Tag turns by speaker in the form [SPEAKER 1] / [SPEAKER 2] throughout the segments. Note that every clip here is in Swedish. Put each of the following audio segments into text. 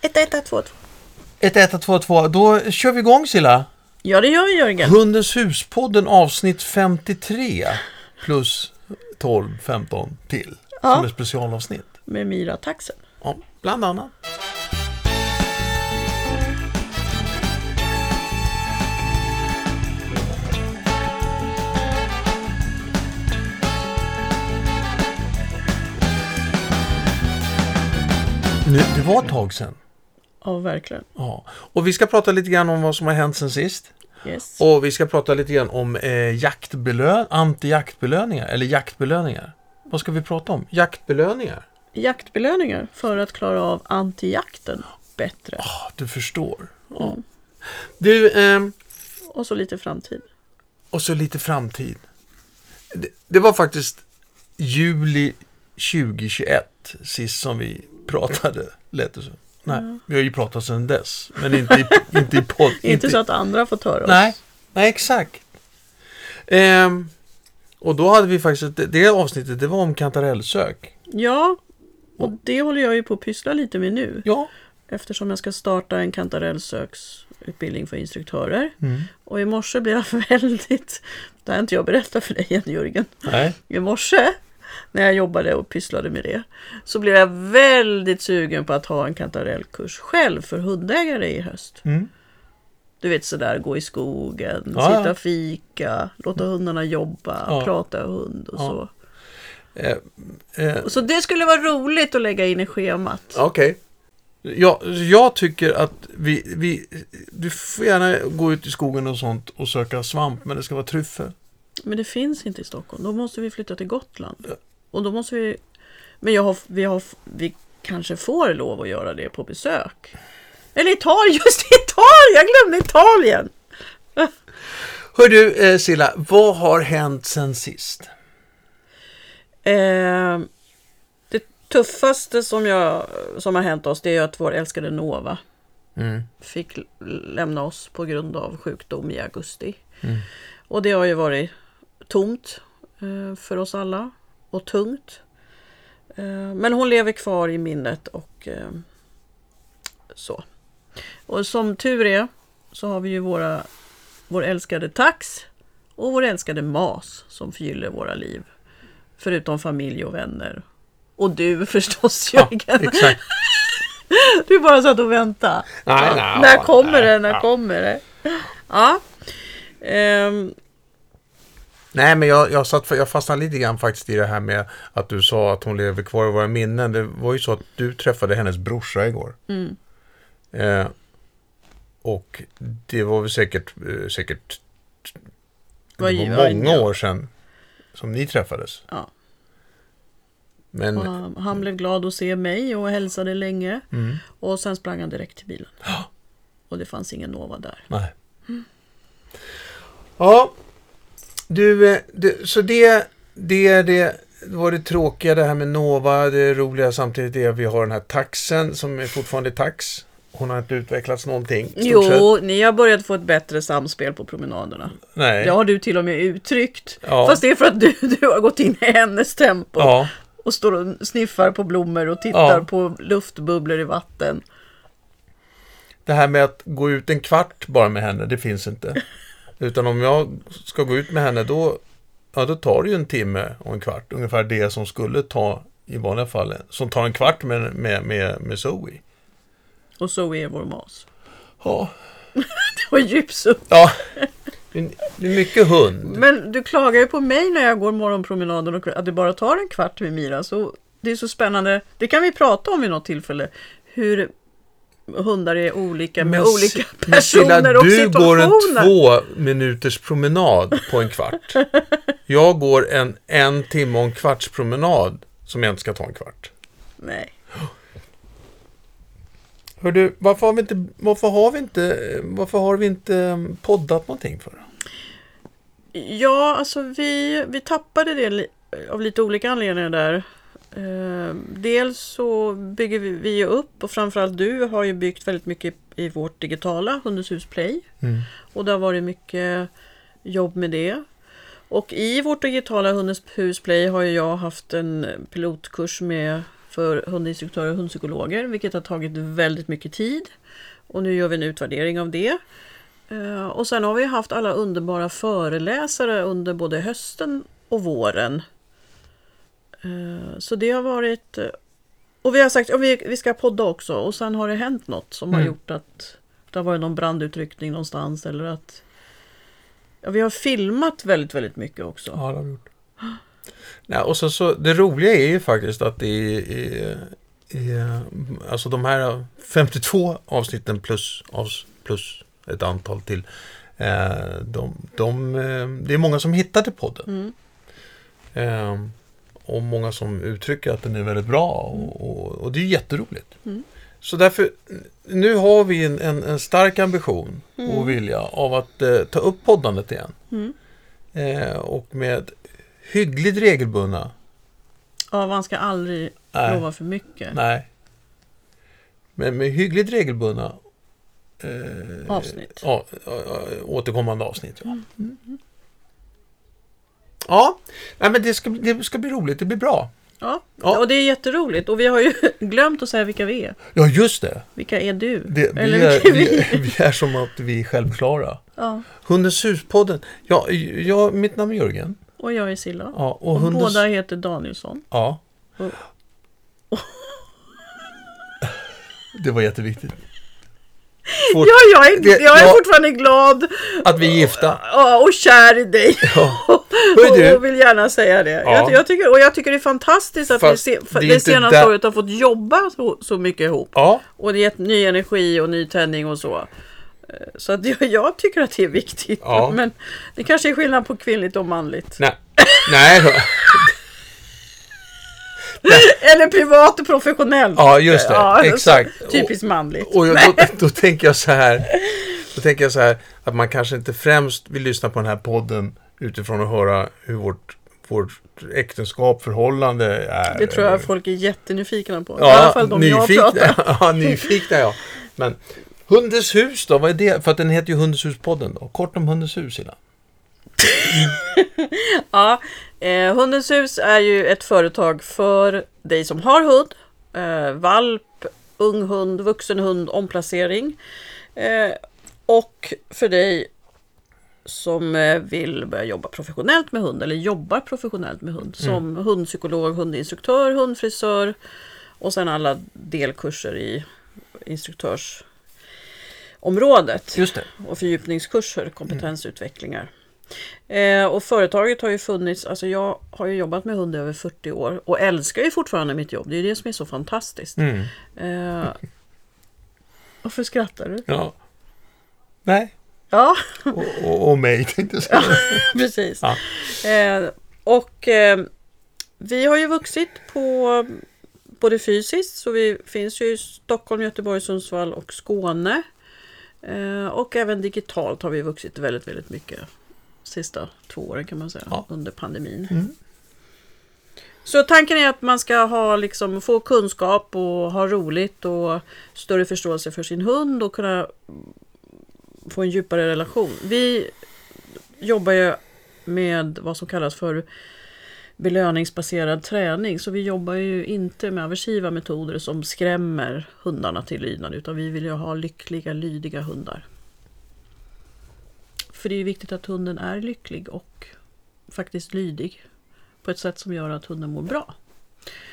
[SPEAKER 1] 1 1 2 2
[SPEAKER 2] 1 1 2 2 Då kör vi igång Silla.
[SPEAKER 1] Ja, det gör vi Jörgen.
[SPEAKER 2] Hundens hus-podden avsnitt 53 plus 12, 15 till.
[SPEAKER 1] Ja.
[SPEAKER 2] Som ett specialavsnitt.
[SPEAKER 1] Med Mira Taxen.
[SPEAKER 2] Ja, bland annat. Nu, det var ett tag sedan.
[SPEAKER 1] Ja, verkligen.
[SPEAKER 2] Ja. Och vi ska prata lite grann om vad som har hänt sen sist.
[SPEAKER 1] Yes.
[SPEAKER 2] Och vi ska prata lite grann om eh, jaktbelön- anti-jaktbelöningar, eller jaktbelöningar. Vad ska vi prata om? Jaktbelöningar?
[SPEAKER 1] Jaktbelöningar för att klara av antijakten bättre.
[SPEAKER 2] Ja, du förstår. Ja.
[SPEAKER 1] Mm.
[SPEAKER 2] Du, ehm,
[SPEAKER 1] Och så lite framtid.
[SPEAKER 2] och så lite framtid. Det, det var faktiskt juli 2021 sist som vi pratade, lät det som. Nej, vi har ju pratat sedan dess, men inte i, inte i podd.
[SPEAKER 1] Mm. Inte så att andra får höra oss.
[SPEAKER 2] Nej, nej exakt. Ehm, och då hade vi faktiskt, ett- det, det avsnittet det var om kantarellsök.
[SPEAKER 1] Ja, och det håller jag ju på att pyssla lite med nu.
[SPEAKER 2] Ja.
[SPEAKER 1] Eftersom jag ska starta en kantarellsöksutbildning för instruktörer.
[SPEAKER 2] Mm.
[SPEAKER 1] Och i morse blev jag väldigt... Det har inte jag berättat för dig än Jörgen.
[SPEAKER 2] Nej.
[SPEAKER 1] i morse när jag jobbade och pysslade med det så blev jag väldigt sugen på att ha en kantarellkurs själv för hundägare i höst.
[SPEAKER 2] Mm.
[SPEAKER 1] Du vet sådär, gå i skogen,
[SPEAKER 2] Ja, ja.
[SPEAKER 1] sitta och fika, låta hundarna jobba,
[SPEAKER 2] Ja.
[SPEAKER 1] prata hund och så.
[SPEAKER 2] Eh, eh,
[SPEAKER 1] Och Så det skulle vara roligt att lägga in i schemat.
[SPEAKER 2] Okej. Ja, jag tycker att vi, vi, du får gärna gå ut i skogen och sånt och söka svamp, men det ska vara tryffel.
[SPEAKER 1] Men det finns inte i Stockholm, då måste vi flytta till Gotland. Och då måste vi... Men jag har, vi, har, vi kanske får lov att göra det på besök. Eller Italien, just Italien! Jag glömde Italien!
[SPEAKER 2] Hör du eh, Silla, vad har hänt sen sist?
[SPEAKER 1] Eh, det tuffaste som, jag, som har hänt oss det är ju att vår älskade Nova
[SPEAKER 2] Mm.
[SPEAKER 1] fick l- lämna oss på grund av sjukdom i augusti. Och det har ju varit tomt eh, för oss alla och tungt. Eh, men hon lever kvar i minnet och eh, så. Och som tur är så har vi ju våra, vår älskade Tax och vår älskade Mas som förgyller våra liv. Förutom familj och vänner. Och du förstås Jörgen.
[SPEAKER 2] Exakt.
[SPEAKER 1] Du bara satt och väntade.
[SPEAKER 2] Nej,
[SPEAKER 1] ja.
[SPEAKER 2] nej,
[SPEAKER 1] när
[SPEAKER 2] ja,
[SPEAKER 1] kommer
[SPEAKER 2] nej,
[SPEAKER 1] det? När
[SPEAKER 2] ja.
[SPEAKER 1] kommer det? Ja. Ehm,
[SPEAKER 2] Nej, men jag, jag, satt, jag fastnade lite grann faktiskt i det här med att du sa att hon lever kvar i våra minnen. Det var ju så att du träffade hennes brorsa igår.
[SPEAKER 1] Mm.
[SPEAKER 2] Eh, och det var väl säkert, eh, säkert
[SPEAKER 1] Vad
[SPEAKER 2] det
[SPEAKER 1] gör
[SPEAKER 2] var
[SPEAKER 1] jag?
[SPEAKER 2] många år sedan som ni träffades.
[SPEAKER 1] Ja.
[SPEAKER 2] Men,
[SPEAKER 1] och han, han blev glad att se mig och hälsade länge.
[SPEAKER 2] Mm.
[SPEAKER 1] Och sen sprang han direkt till bilen. Och det fanns ingen Nova där.
[SPEAKER 2] nej. Ja, du, eh, du, så det, det, det var det tråkiga det här med Nova. Det roliga samtidigt är att vi har den här taxen som är fortfarande tax. Hon har inte utvecklats någonting. stort sett.
[SPEAKER 1] Jo, ni har börjat få ett bättre samspel på promenaderna.
[SPEAKER 2] Nej.
[SPEAKER 1] Det har du till och med uttryckt.
[SPEAKER 2] Ja.
[SPEAKER 1] Fast det är för att du, du har gått in i hennes tempo.
[SPEAKER 2] Ja.
[SPEAKER 1] Och står och sniffar på blommor och tittar
[SPEAKER 2] Ja.
[SPEAKER 1] på luftbubblor i vatten.
[SPEAKER 2] Det här med att gå ut en kvart bara med henne, det finns inte. Utan om jag ska gå ut med henne då, ja, då tar det ju en timme och en kvart. Ungefär det som skulle ta i vanliga fall, som tar en kvart med, med, med, med Zoe.
[SPEAKER 1] Och så är vår mas.
[SPEAKER 2] Ja.
[SPEAKER 1] Och djupsuck.
[SPEAKER 2] ja. Det är- det är mycket hund.
[SPEAKER 1] Men du klagar ju på mig när jag går morgonpromenaden och att det bara tar en kvart med Mira. Så det är så spännande. Det kan vi prata om vid något tillfälle. Hur hundar är olika med
[SPEAKER 2] Men
[SPEAKER 1] olika
[SPEAKER 2] s- men
[SPEAKER 1] personer
[SPEAKER 2] Silla,
[SPEAKER 1] och
[SPEAKER 2] du går en
[SPEAKER 1] situationer.
[SPEAKER 2] två minuters promenad på en kvart. Jag går en en timme och en kvarts promenad som jag inte ska ta en kvart.
[SPEAKER 1] Nej.
[SPEAKER 2] Hör du, varför har vi inte, varför har vi inte, varför har vi inte ehm, poddat någonting för?
[SPEAKER 1] Ja, alltså vi, vi tappade det li- av lite olika anledningar där. Eh, dels så bygger vi, vi ju upp och framförallt du har ju byggt väldigt mycket i vårt digitala Hundens hus Play. Och det har varit mycket jobb med det. Och i vårt digitala Hundens hus Play har ju jag haft en pilotkurs med för hundinstruktörer och hundpsykologer, vilket har tagit väldigt mycket tid. Och nu gör vi en utvärdering av det. Eh, Och sen har vi haft alla underbara föreläsare under både hösten och våren. Eh, Så det har varit... eh, Och vi har sagt att vi vi ska podda också och sen har det hänt något som har
[SPEAKER 2] Mm.
[SPEAKER 1] gjort att det har varit någon brandutryckning någonstans eller att... Ja, vi har filmat väldigt, väldigt mycket också.
[SPEAKER 2] Ja, det har vi gjort. Nej, och så, så, det roliga är ju faktiskt att det är, är, är alltså de här 52 avsnitten plus, avs, plus ett antal till. Eh, de, de, eh, det är många som hittade podden.
[SPEAKER 1] Mm.
[SPEAKER 2] Eh, och många som uttrycker att den är väldigt bra och, och, och det är ju jätteroligt.
[SPEAKER 1] Mm.
[SPEAKER 2] Så därför, nu har vi en, en, en stark ambition och vilja av att eh, ta upp poddandet igen.
[SPEAKER 1] Mm.
[SPEAKER 2] Eh, och med hyggligt regelbundna.
[SPEAKER 1] Ja, man ska aldrig
[SPEAKER 2] Nej.
[SPEAKER 1] lova för mycket.
[SPEAKER 2] Nej. Men med hyggligt regelbundna eh,
[SPEAKER 1] Avsnitt.
[SPEAKER 2] Ja, ja, ja, återkommande avsnitt.
[SPEAKER 1] Mm,
[SPEAKER 2] Ja, ja nej, men det ska, det ska bli roligt, det blir bra.
[SPEAKER 1] Ja.
[SPEAKER 2] Ja.
[SPEAKER 1] och det är jätteroligt. Och vi har ju glömt att säga vilka vi är.
[SPEAKER 2] Ja, just det.
[SPEAKER 1] Vilka är du?
[SPEAKER 2] det vi,
[SPEAKER 1] Eller
[SPEAKER 2] är,
[SPEAKER 1] vilka är vi?
[SPEAKER 2] vi, är, vi är som att vi är självklara.
[SPEAKER 1] Ja.
[SPEAKER 2] Hundens hus-podden. Ja, ja, mitt namn är Jörgen.
[SPEAKER 1] Och jag är Silla.
[SPEAKER 2] Ja, och,
[SPEAKER 1] och
[SPEAKER 2] hundens...
[SPEAKER 1] båda heter Danielsson.
[SPEAKER 2] Ja.
[SPEAKER 1] Och-
[SPEAKER 2] Det var jätteviktigt.
[SPEAKER 1] Ja,
[SPEAKER 2] Fort,
[SPEAKER 1] jag är,
[SPEAKER 2] Det-
[SPEAKER 1] jag är
[SPEAKER 2] ja.
[SPEAKER 1] fortfarande glad
[SPEAKER 2] Att vi är gifta.
[SPEAKER 1] ja, och kär i dig.
[SPEAKER 2] Ja.
[SPEAKER 1] Och,
[SPEAKER 2] Hör
[SPEAKER 1] och
[SPEAKER 2] du,
[SPEAKER 1] vill gärna säga det.
[SPEAKER 2] Ja.
[SPEAKER 1] Jag, jag tycker, och jag tycker det är fantastiskt att vi
[SPEAKER 2] Fast
[SPEAKER 1] se, för
[SPEAKER 2] det är
[SPEAKER 1] det
[SPEAKER 2] inte
[SPEAKER 1] senaste
[SPEAKER 2] där-
[SPEAKER 1] året har fått jobba så, så mycket ihop.
[SPEAKER 2] ja,
[SPEAKER 1] Och det har gett ny energi och ny tändning och så. Eh, Så att jag, jag tycker att det är viktigt.
[SPEAKER 2] Ja.
[SPEAKER 1] Men det kanske är skillnad på kvinnligt och manligt.
[SPEAKER 2] nej, nej då.
[SPEAKER 1] Eller privat och professionellt.
[SPEAKER 2] Ja, just det.
[SPEAKER 1] Ja,
[SPEAKER 2] Exakt.
[SPEAKER 1] Typiskt manligt.
[SPEAKER 2] Och jag, då, då tänker jag så här. Då tänker jag så här att man kanske inte främst vill lyssna på den här podden utifrån att höra hur vårt, vårt äktenskap, förhållande är.
[SPEAKER 1] Det tror
[SPEAKER 2] eller-
[SPEAKER 1] jag folk är jättenyfikna på. I alla fall de jag pratar med.
[SPEAKER 2] nyfikna. ja, nyfikna ja. Men Hundens hus då, vad är det? För att den heter ju Hundens hus-podden då. Kort om Hundens hus, Illa.
[SPEAKER 1] Ja, eh, Hundens hus är ju ett företag för dig som har hund. Eh, valp, ung hund, vuxen hund, omplacering. Eh, och för dig som eh, vill börja jobba professionellt med hund eller jobbar professionellt med hund. Som hundpsykolog, hundinstruktör, hundfrisör och sen alla delkurser i instruktörsområdet
[SPEAKER 2] Just det.
[SPEAKER 1] och fördjupningskurser, kompetensutvecklingar. Eh, och företaget har ju funnits, alltså jag har ju jobbat med hund i över 40 år och älskar ju fortfarande mitt jobb. Det är ju det som är så fantastiskt.
[SPEAKER 2] Mm.
[SPEAKER 1] Eh, varför skrattar du?
[SPEAKER 2] Ja. Nej.
[SPEAKER 1] Ja,
[SPEAKER 2] Och, och, och mig tänkte jag säga.
[SPEAKER 1] precis.
[SPEAKER 2] Ja.
[SPEAKER 1] Eh, och eh, vi har ju vuxit på både fysiskt, så vi finns ju i Stockholm, Göteborg, Sundsvall och Skåne. Eh, och även digitalt har vi vuxit väldigt, väldigt mycket sista två åren kan man säga,
[SPEAKER 2] Ja.
[SPEAKER 1] under pandemin.
[SPEAKER 2] Mm.
[SPEAKER 1] Så tanken är att man ska ha, liksom, få kunskap och ha roligt och större förståelse för sin hund och kunna få en djupare relation. Vi jobbar ju med vad som kallas för belöningsbaserad träning. Så vi jobbar ju inte med aversiva metoder som skrämmer hundarna till lydnad utan vi vill ju ha lyckliga, lydiga hundar. För det är ju viktigt att hunden är lycklig och faktiskt lydig på ett sätt som gör att hunden mår bra.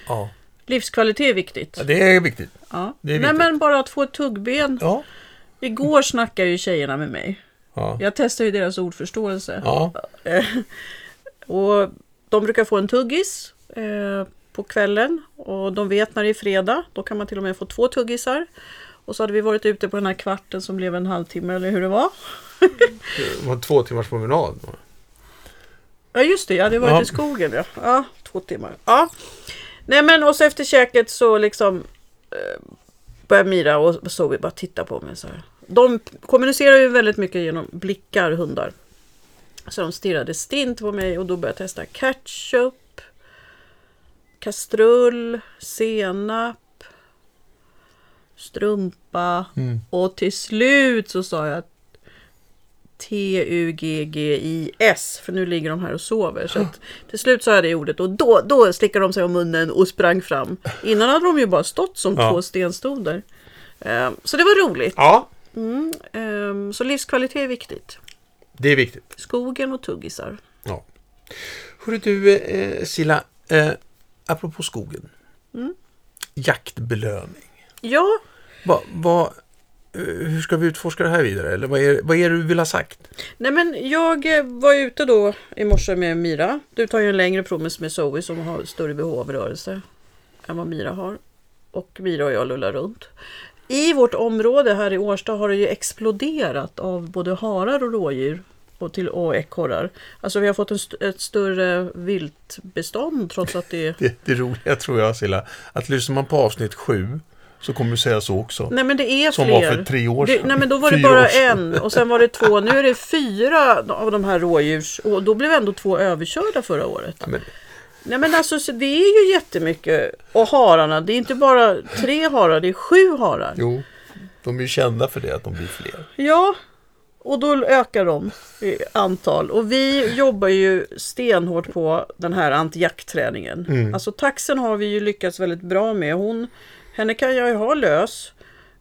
[SPEAKER 2] Ja.
[SPEAKER 1] Livskvalitet är viktigt.
[SPEAKER 2] ja, det är viktigt.
[SPEAKER 1] Ja.
[SPEAKER 2] det är
[SPEAKER 1] Nej
[SPEAKER 2] viktigt.
[SPEAKER 1] men bara att få ett tuggben.
[SPEAKER 2] Ja.
[SPEAKER 1] Igår snackade ju tjejerna med mig.
[SPEAKER 2] Ja.
[SPEAKER 1] Jag testar ju deras ordförståelse.
[SPEAKER 2] Ja.
[SPEAKER 1] Och de brukar få en tuggis eh, på kvällen och de vet när det är fredag. Då kan man till och med få två tuggisar. Och så hade vi varit ute på den här kvarten som blev en halvtimme eller hur det var.
[SPEAKER 2] Det var en två timmars promenad.
[SPEAKER 1] Ja just det, jag hade varit
[SPEAKER 2] Ja.
[SPEAKER 1] i skogen ja. ja. Två timmar. Ja. Nej men och så efter käket så liksom eh, började Mira och Zoe bara titta på mig så här. De p- kommunicerar ju väldigt mycket genom blickar, hundar. Så de stirrade stint på mig och då började jag testa ketchup, kastrull, senap, strumpa. Och till slut så sa jag att T-U-G-G-I-S. För nu ligger de här och sover. Så att till slut sa jag det ordet och då, då slickade de sig om munnen och sprang fram. Innan hade de ju bara stått som
[SPEAKER 2] Ja.
[SPEAKER 1] två stenstoder. Ehm, Så det var roligt.
[SPEAKER 2] Ja,
[SPEAKER 1] Mm, ehm, så livskvalitet är viktigt.
[SPEAKER 2] det är viktigt.
[SPEAKER 1] Skogen och tuggisar.
[SPEAKER 2] Ja. Hörru du, eh, Silla, eh, apropå skogen.
[SPEAKER 1] Mm.
[SPEAKER 2] Jaktbelöning.
[SPEAKER 1] Ja,
[SPEAKER 2] Va, va, eh, hur ska vi utforska det här vidare? Eller vad är, vad är det du vill ha sagt?
[SPEAKER 1] nej men jag eh, var ute då i morse med Mira. Du tar ju en längre promenad med Zoe som har större behov av rörelse än vad Mira har. Och Mira och jag lullar runt. I vårt område här i Årsta har det ju exploderat av både harar och rådjur och till och ekorrar. Alltså vi har fått en st- ett större viltbestånd trots att det är...
[SPEAKER 2] Det, det roliga tror jag, Silla, att lyssnar man på avsnitt sju så kommer du säga så också.
[SPEAKER 1] Nej men det är
[SPEAKER 2] Som
[SPEAKER 1] fler.
[SPEAKER 2] var för tre år
[SPEAKER 1] Det,
[SPEAKER 2] sedan.
[SPEAKER 1] nej men då var det
[SPEAKER 2] Fyra år
[SPEAKER 1] bara
[SPEAKER 2] sedan.
[SPEAKER 1] en och sen var det två. Nu är det fyra av de här rådjurs och då blev ändå två överkörda förra året.
[SPEAKER 2] Ja, men,
[SPEAKER 1] Nej men alltså så det är ju jättemycket. Och hararna, det är inte bara tre harar, det är sju harar.
[SPEAKER 2] jo, de är ju kända för det, att de blir fler.
[SPEAKER 1] Ja, och då ökar de i antal. Och vi jobbar ju stenhårt på den här antijaktträningen. Alltså taxen har vi ju lyckats väldigt bra med. Hon, henne kan jag ju ha lös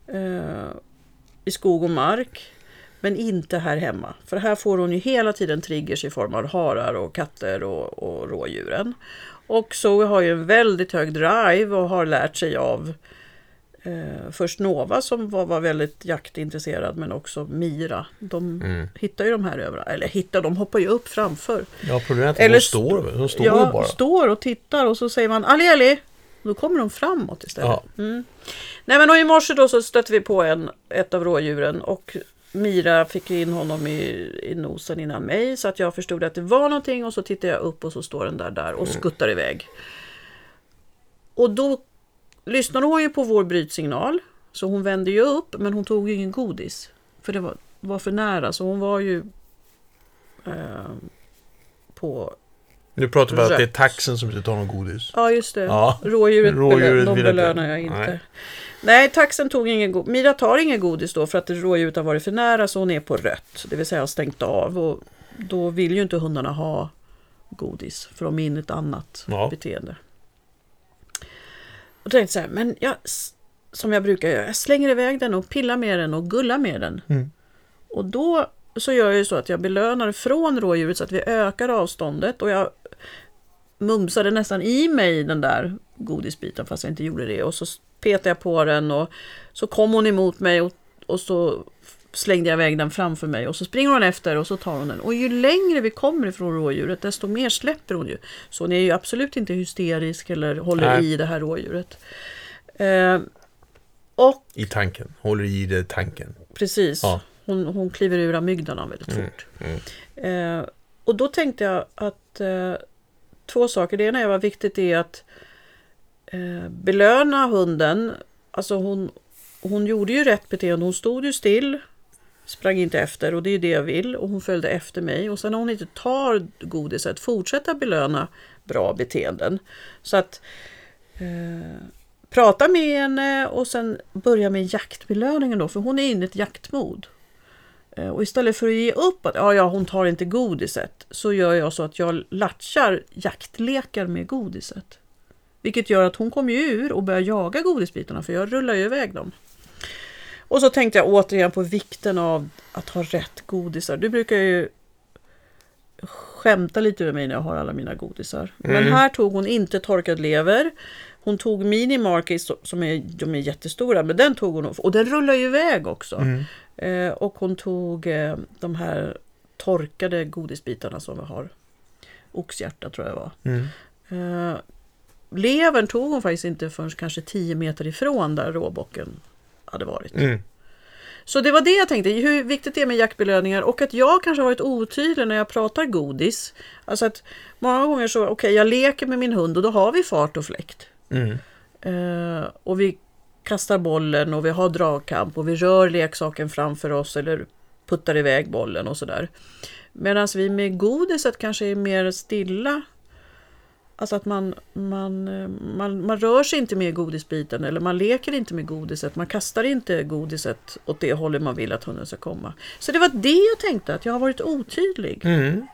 [SPEAKER 1] eh, i skog och mark. Men inte här hemma. För här får hon ju hela tiden triggers i form av harar och katter och, och rådjuren. Och Zoe har ju en väldigt hög drive och har lärt sig av eh, först Nova som var, var väldigt jaktintresserad men också Mira. De
[SPEAKER 2] Mm.
[SPEAKER 1] hittar ju de här överallt. Eller hittar, de hoppar ju upp framför.
[SPEAKER 2] Ja, problemet är att
[SPEAKER 1] Eller
[SPEAKER 2] de
[SPEAKER 1] st-
[SPEAKER 2] står, de står
[SPEAKER 1] ja,
[SPEAKER 2] bara.
[SPEAKER 1] står och tittar och så säger man Ali Ali! Då kommer de framåt istället.
[SPEAKER 2] Ja.
[SPEAKER 1] Mm. Nej men och i morse då så stötte vi på en, ett av rådjuren och Mira fick ju in honom i, i nosen innan mig så att jag förstod att det var någonting och så tittade jag upp och så står den där där och skuttar iväg. Och då lyssnade hon ju på vår brytsignal. Så hon vände ju upp, men hon tog ju ingen godis. För det var, var för nära, så hon var ju eh, på...
[SPEAKER 2] Nu pratar vi bara att det är
[SPEAKER 1] Rött.
[SPEAKER 2] taxen som inte tar någon godis.
[SPEAKER 1] Ja, just det.
[SPEAKER 2] Ja.
[SPEAKER 1] Rådjuret,
[SPEAKER 2] Rådjuret
[SPEAKER 1] belö- de
[SPEAKER 2] vill jag
[SPEAKER 1] belönar
[SPEAKER 2] inte.
[SPEAKER 1] jag inte.
[SPEAKER 2] Nej.
[SPEAKER 1] Nej. taxen tog ingen godis. Mira tar ingen godis då för att rådjuret har varit för nära, så hon är på rött. Det vill säga har stängt av. Och då vill ju inte hundarna ha godis, för de är inne i ett annat
[SPEAKER 2] Ja.
[SPEAKER 1] beteende. Och tänkte så här, men jag, s- som jag brukar göra, jag slänger iväg den och pillar med den och gullar med den.
[SPEAKER 2] Mm.
[SPEAKER 1] Och då så gör jag ju så att jag belönar från rådjuret så att vi ökar avståndet och jag mumsade nästan i mig den där godisbiten fast jag inte gjorde det och så petade jag på den och så kom hon emot mig och, och så slängde jag iväg den framför mig och så springer hon efter och så tar hon den. Och ju längre vi kommer ifrån rådjuret desto mer släpper hon ju. Så hon är ju absolut inte hysterisk eller håller
[SPEAKER 2] Nej.
[SPEAKER 1] i det här rådjuret. Eh, och
[SPEAKER 2] I tanken, håller i det tanken.
[SPEAKER 1] Precis.
[SPEAKER 2] Ja. Mm.
[SPEAKER 1] Hon, hon kliver ur amygdalan väldigt fort. Eh, och då tänkte jag att eh, två saker. Det ena är vad viktigt det är att eh, belöna hunden. Alltså hon, hon gjorde ju rätt beteende. Hon stod ju still, sprang inte efter och det är ju det jag vill. Och hon följde efter mig. Och sen när hon inte tar godiset, fortsätta belöna bra beteenden. Så att eh, prata med henne och sen börja med jaktbelöningen då, för hon är inne i ett jaktmod. Eh, Och istället för att ge upp att ja, ja, hon tar inte godiset, så gör jag så att jag latchar jaktlekar med godiset. Vilket gör att hon kommer ju ur och börjar jaga godisbitarna, för jag rullar ju iväg dem. Och så tänkte jag återigen på vikten av att ha rätt godisar. Du brukar ju skämta lite över mig när jag har alla mina godisar. Men här tog hon inte torkad lever. Hon tog mini Markis som är, de är jättestora, men den tog hon och den rullar ju iväg också. Eh, och hon tog eh, de här torkade godisbitarna som vi har. Oxhjärta tror jag det var.
[SPEAKER 2] Mm,
[SPEAKER 1] Eh, levern tog hon faktiskt inte förrän kanske 10 meter ifrån där råbocken hade varit.
[SPEAKER 2] Mm.
[SPEAKER 1] Så det var det jag tänkte, hur viktigt det är med jaktbelöningar och att jag kanske har varit otydlig när jag pratar godis. Alltså att många gånger så, okej jag leker med min hund och då har vi fart och fläkt.
[SPEAKER 2] Mm.
[SPEAKER 1] Eh, och vi kastar bollen och vi har dragkamp och vi rör leksaken framför oss eller puttar iväg bollen och sådär. Medan vi med godiset kanske är mer stilla. Alltså att man, man, eh, man, man rör sig inte med godisbiten eller man leker inte med godiset. Man kastar inte godiset åt det hållet man vill att hunden ska komma. Så det var det jag tänkte, att jag har varit otydlig.
[SPEAKER 2] Mm.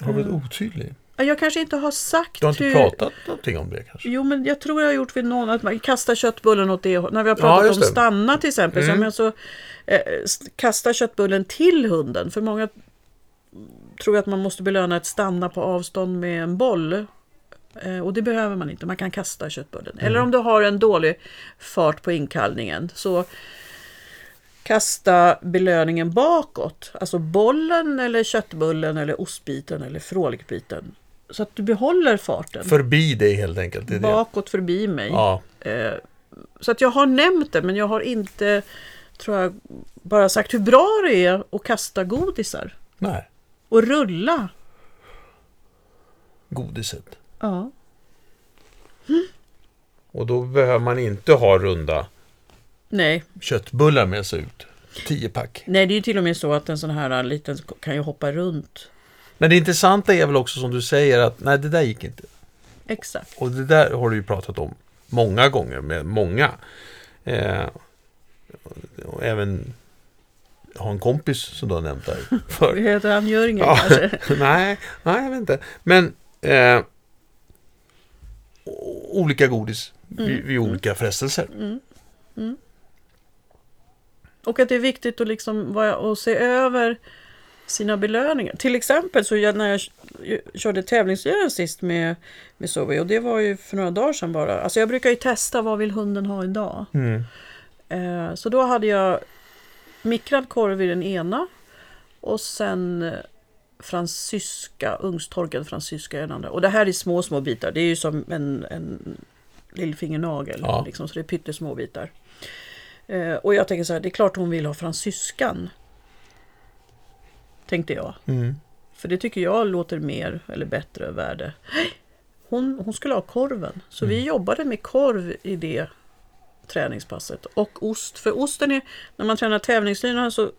[SPEAKER 2] Har du varit otydlig?
[SPEAKER 1] Jag kanske inte har sagt
[SPEAKER 2] Du har inte pratat någonting om det kanske?
[SPEAKER 1] Jo, men jag tror jag har gjort vid någon, att man kastar köttbullen åt det hållet. När vi har pratat
[SPEAKER 2] Ja,
[SPEAKER 1] om
[SPEAKER 2] just det. Mm.
[SPEAKER 1] stanna till exempel, så, men så eh, s- kasta köttbullen till hunden. För många tror att man måste belöna ett stanna på avstånd med en boll. Eh, och det behöver man inte, man kan kasta köttbullen. Eller
[SPEAKER 2] Mm.
[SPEAKER 1] om du har en dålig fart på inkallningen, så kasta belöningen bakåt. Alltså bollen eller köttbullen eller ostbiten eller frålbiten. Så att du behåller farten
[SPEAKER 2] Förbi dig helt enkelt. Det är det.
[SPEAKER 1] bakåt förbi mig.
[SPEAKER 2] Ja.
[SPEAKER 1] Eh, Så att jag har nämnt det, men jag har inte, tror jag, bara sagt hur bra det är att kasta godisar.
[SPEAKER 2] Nej.
[SPEAKER 1] Och rulla.
[SPEAKER 2] Godiset.
[SPEAKER 1] Ja.
[SPEAKER 2] Och då behöver man inte ha runda
[SPEAKER 1] Nej.
[SPEAKER 2] köttbullar med sig ut. Tio pack.
[SPEAKER 1] Nej, det är ju till och med så att en sån här liten kan ju hoppa runt.
[SPEAKER 2] Men det intressanta är väl också som du säger att nej, det där gick inte.
[SPEAKER 1] Exakt.
[SPEAKER 2] Och det där har du ju pratat om många gånger med många. Eh, och även har en kompis som du har nämnt där
[SPEAKER 1] Det
[SPEAKER 2] för.
[SPEAKER 1] heter han Jörgen
[SPEAKER 2] Ja.
[SPEAKER 1] kanske?
[SPEAKER 2] nej, nej, jag vet inte. Men eh, o- olika godis
[SPEAKER 1] Mm.
[SPEAKER 2] vid, vid olika frestelser.
[SPEAKER 1] Och att det är viktigt att, liksom, vara- att se över sina belöningar. Till exempel så jag, när jag k- körde tävlingsgören sist med, med Zoe och det var ju för några dagar sedan bara. Alltså jag brukar ju testa vad vill hunden ha idag.
[SPEAKER 2] Mm.
[SPEAKER 1] Eh, så då hade jag mikrad korv i den ena och sen eh, fransyska, ugnstorkad fransyska i den andra. Och det här är små, små bitar. Det är ju som en, en lillfingernagel,
[SPEAKER 2] Ja.
[SPEAKER 1] liksom, så det är pyttesmå bitar. Eh, och jag tänker så här, det är klart hon vill ha fransyskan. Tänkte jag.
[SPEAKER 2] Mm.
[SPEAKER 1] För det tycker jag låter mer eller bättre värde. Hon, hon skulle ha korven. Så vi jobbade med korv i det träningspasset. Och ost. För osten är, när man tränar tävlingslinan så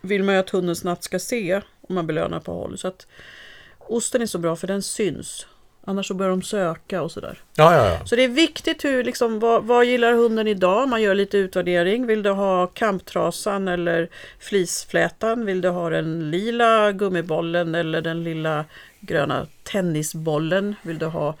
[SPEAKER 1] vill man ju att hundens natt ska se om man belönar på håll. Så att osten är så bra för den syns. Annars så börjar de söka och sådär.
[SPEAKER 2] Ja, ja, ja.
[SPEAKER 1] Så det är viktigt hur, liksom, vad, vad gillar hunden idag? Man gör lite utvärdering. Vill du ha kamptrasan eller flisflätan? Vill du ha den lila gummibollen eller den lilla gröna tennisbollen? Vill du ha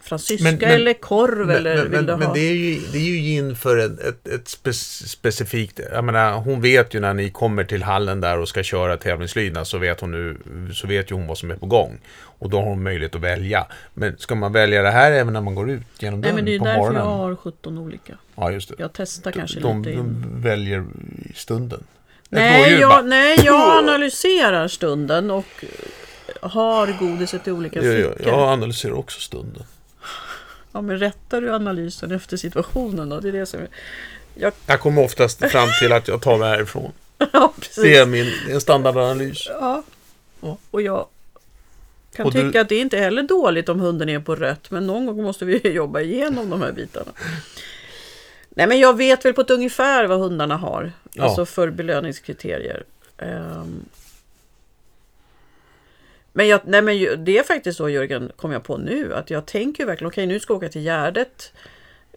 [SPEAKER 1] fransyska
[SPEAKER 2] Men- men-
[SPEAKER 1] eller korv?
[SPEAKER 2] Men,
[SPEAKER 1] eller
[SPEAKER 2] men,
[SPEAKER 1] vill du
[SPEAKER 2] men, men
[SPEAKER 1] ha...
[SPEAKER 2] det, är ju, det är ju inför ett, ett, ett spe, specifikt, jag menar hon vet ju när ni kommer till hallen där och ska köra tävlingslydnad så vet hon nu, så vet ju hon vad som är på gång. Och då har hon möjlighet att välja. Men ska man välja det här även när man går ut genom
[SPEAKER 1] Nej, men
[SPEAKER 2] dörren
[SPEAKER 1] det är ju
[SPEAKER 2] på
[SPEAKER 1] därför
[SPEAKER 2] morgonen?
[SPEAKER 1] jag har 17 olika.
[SPEAKER 2] Ja, just det.
[SPEAKER 1] Jag testar kanske
[SPEAKER 2] de,
[SPEAKER 1] lite. in.
[SPEAKER 2] de väljer i stunden. Ett
[SPEAKER 1] Nej
[SPEAKER 2] rådjur bara,
[SPEAKER 1] jag, nej, jag analyserar stunden och har godiset i olika
[SPEAKER 2] "Jo, jo,
[SPEAKER 1] fickor.
[SPEAKER 2] Jag analyserar också stunden.
[SPEAKER 1] Ja, men rättar du analysen efter situationen då? Det är det som... Jag...
[SPEAKER 2] Jag kommer oftast fram till att jag tar mig härifrån.
[SPEAKER 1] Ja,
[SPEAKER 2] Det är
[SPEAKER 1] precis.
[SPEAKER 2] min det är en standardanalys.
[SPEAKER 1] Ja. Ja, Och jag kan
[SPEAKER 2] Och du-
[SPEAKER 1] tycka att det inte heller är dåligt om hunden är på rött, men någon gång måste vi ju jobba igenom de här bitarna. Nej, men jag vet väl på ett ungefär vad hundarna har,
[SPEAKER 2] Ja.
[SPEAKER 1] alltså för belöningskriterier. Ehm. Men, jag, nej men ju- det är faktiskt så Jörgen, kom jag på nu, att jag tänker verkligen, okej nu ska jag åka till Gärdet.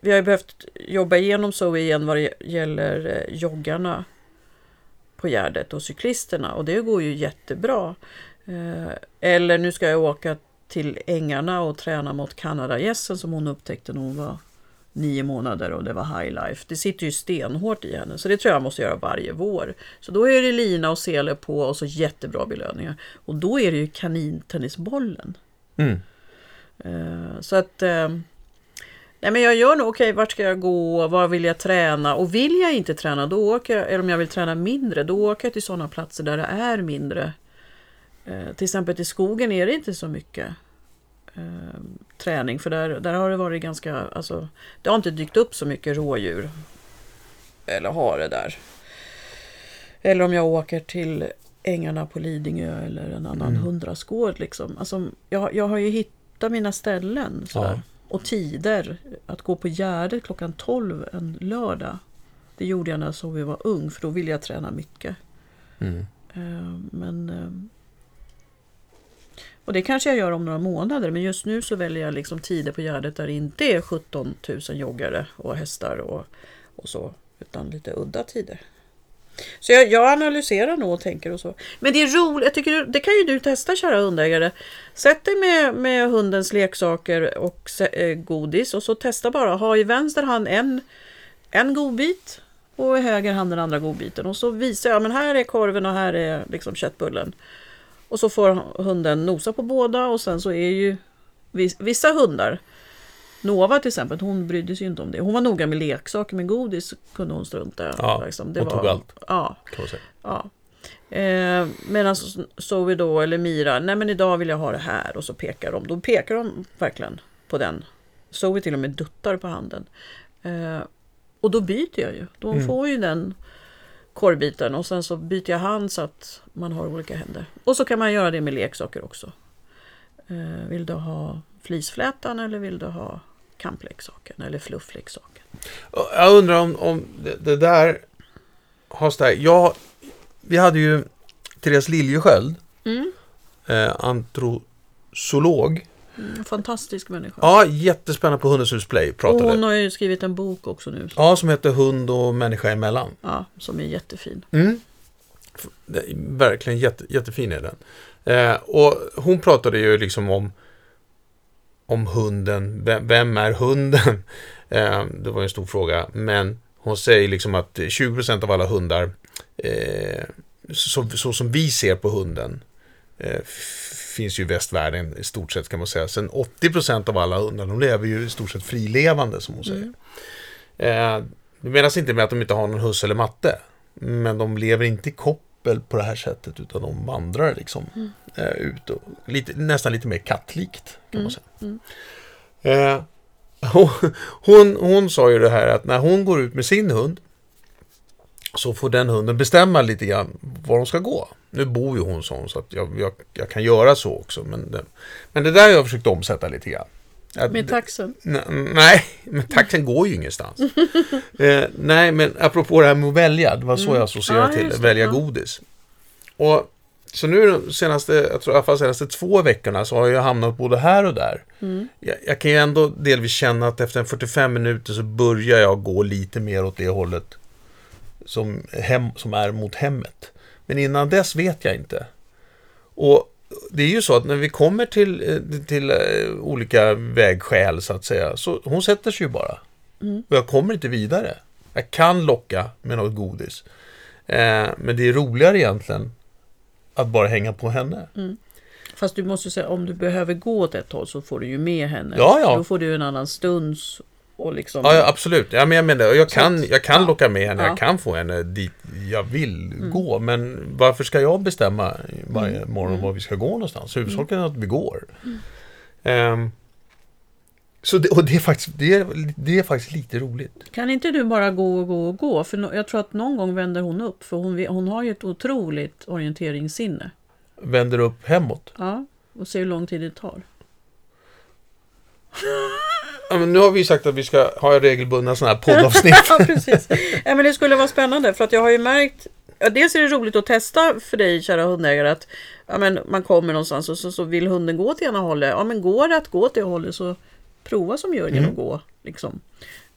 [SPEAKER 1] Vi har ju behövt jobba igenom så igen vad det gäller eh, joggarna på Gärdet och cyklisterna och det går ju jättebra. Eh, Eller nu ska jag åka till ängarna och träna mot kanadagässen som hon upptäckte när hon var nio månader och det var high life. Det sitter ju stenhårt i henne så det tror jag jag måste göra varje vår. Så då är det lina och sele på och så jättebra belöningar. Och då är det ju kanintennisbollen.
[SPEAKER 2] Mm.
[SPEAKER 1] Eh, Så att eh, Nej men jag gör nog, okej vart ska jag gå, vad vill jag träna och vill jag inte träna då åker jag, eller om jag vill träna mindre, då åker jag till sådana platser där det är mindre. Eh, till exempel till skogen är det inte så mycket eh, träning för där, där har det varit ganska, alltså det har inte dykt upp så mycket rådjur. Eller hare där. Eller om jag åker till ängarna på Lidingö eller en annan hundrasgård liksom. Alltså jag, jag har ju hittat mina ställen sådär.
[SPEAKER 2] Ja.
[SPEAKER 1] Och tider. Att gå på Gärdet klockan 12 en lördag. Det gjorde jag när så vi var ung för då ville jag träna mycket.
[SPEAKER 2] Mm.
[SPEAKER 1] Eh, Men eh, Och det kanske jag gör om några månader men just nu så väljer jag liksom tider på Gärdet där det inte är 17 000 joggare och hästar och, och så. Utan lite udda tider. Så jag, jag analyserar nog och tänker och så. Men det är roligt, jag tycker det kan ju du testa kära hundägare. Sätt dig med, med hundens leksaker och se- eh, godis och så testa bara. Ha i vänster hand en, en godbit och i höger hand den andra godbiten. Och så visar jag, men här är korven och här är liksom köttbullen. Och så får hunden nosa på båda och sen så är ju vis- vissa hundar Nova till exempel, hon brydde sig ju inte om det. Hon var noga med leksaker, men godis kunde hon strunta i. Liksom.
[SPEAKER 2] Ja, hon tog allt.
[SPEAKER 1] Ja,
[SPEAKER 2] Kan man säga.
[SPEAKER 1] Ja. Eh, Medan Zoe då, eller Mira, nej men idag vill jag ha det här och så pekar de. Då pekar de verkligen på den. Zoe till och med duttar på handen. Eh, och då byter jag ju. Då får ju den korvbiten och sen så byter jag hand så att man har olika händer. Och så kan man göra det med leksaker också. Eh, vill du ha flisflätan eller vill du ha kampleksaken eller fluffleksaken?
[SPEAKER 2] Och Jag undrar om, om det, det där har stärkt. Jag, vi hade ju Therese Liljesköld,
[SPEAKER 1] Mm.
[SPEAKER 2] eh, antrozoolog.
[SPEAKER 1] Mm, fantastisk människa.
[SPEAKER 2] Ja, jättespännande på Hundens hus Play
[SPEAKER 1] och
[SPEAKER 2] pratade.
[SPEAKER 1] hon har ju skrivit en bok också nu.
[SPEAKER 2] Ja, som heter Hund och människa emellan.
[SPEAKER 1] Ja, som är jättefin.
[SPEAKER 2] Mm. F- det är Verkligen jätte, jättefin är den. Eh, och hon pratade ju liksom om, om hunden. Vem, vem är hunden? Eh, det var ju en stor fråga. Men hon säger liksom att 20% av alla hundar, eh, så, så som vi ser på hunden, eh, f- finns ju i västvärlden i stort sett kan man säga. Sen 80% av alla hundar, de lever ju i stort sett frilevande som hon säger. Eh, det menas inte med att de inte har någon husse eller matte. Men de lever inte i koppel på det här sättet utan de vandrar liksom eh, ut och lite, nästan lite mer kattlikt kan man säga. Eh, hon, hon, hon sa ju det här att när hon går ut med sin hund så får den hunden bestämma lite grann var de ska gå. Nu bor ju hon sån så att jag, jag, jag kan göra så också. Men det, men det där har jag försökt omsätta lite grann. Att-
[SPEAKER 1] Med taxen.
[SPEAKER 2] N- Nej, men taxen går ju ingenstans. eh, nej, men apropå det här med att välja, det var så jag associerade
[SPEAKER 1] Mm. Ja,
[SPEAKER 2] till
[SPEAKER 1] just det,
[SPEAKER 2] det, välja
[SPEAKER 1] ja.
[SPEAKER 2] godis. Och Så nu de senaste, jag tror i alla fall senaste två veckorna så har jag hamnat både här och där.
[SPEAKER 1] Mm.
[SPEAKER 2] Jag, jag kan ju ändå delvis känna att efter en 45 minuter så börjar jag gå lite mer åt det hållet som, hem, som är mot hemmet. Men innan dess vet jag inte. Och det är ju så att när vi kommer till, eh, till eh, olika vägskäl så att säga, så hon sätter sig ju bara. Och jag kommer inte vidare. Jag kan locka med något godis. Eh, men det är roligare egentligen att bara hänga på henne.
[SPEAKER 1] Fast du måste säga om du behöver gå åt ett håll så får du ju med henne.
[SPEAKER 2] Ja, ja.
[SPEAKER 1] Då får du en annan stunds och liksom...
[SPEAKER 2] Ja, ja absolut. Ja, men jag menar, jag kan, jag kan locka med henne,
[SPEAKER 1] Ja.
[SPEAKER 2] jag kan få henne dit jag vill gå. Men varför ska jag bestämma varje morgon var vi ska gå någonstans? Huvudsaken är att vi går. Ehm, så det, och det är, faktiskt, det, är, det är faktiskt lite roligt.
[SPEAKER 1] Kan inte du bara gå och gå och gå? För nå- jag tror att någon gång vänder hon upp. För hon, vet- hon har ju ett otroligt orienteringssinne.
[SPEAKER 2] Vänder upp hemåt.
[SPEAKER 1] Ja. Och ser hur lång tid det tar.
[SPEAKER 2] Ja, men nu har vi sagt att vi ska ha regelbundna sådana här poddavsnitt.
[SPEAKER 1] Ja, precis. Ja, men det skulle vara spännande för att jag har ju märkt Ja, dels är det roligt att testa för dig kära hundägare att ja, men man kommer någonstans och så, så vill hunden gå till ena hållet. Ja men går det att gå till det hållet så prova som Jörgen att gå. Liksom.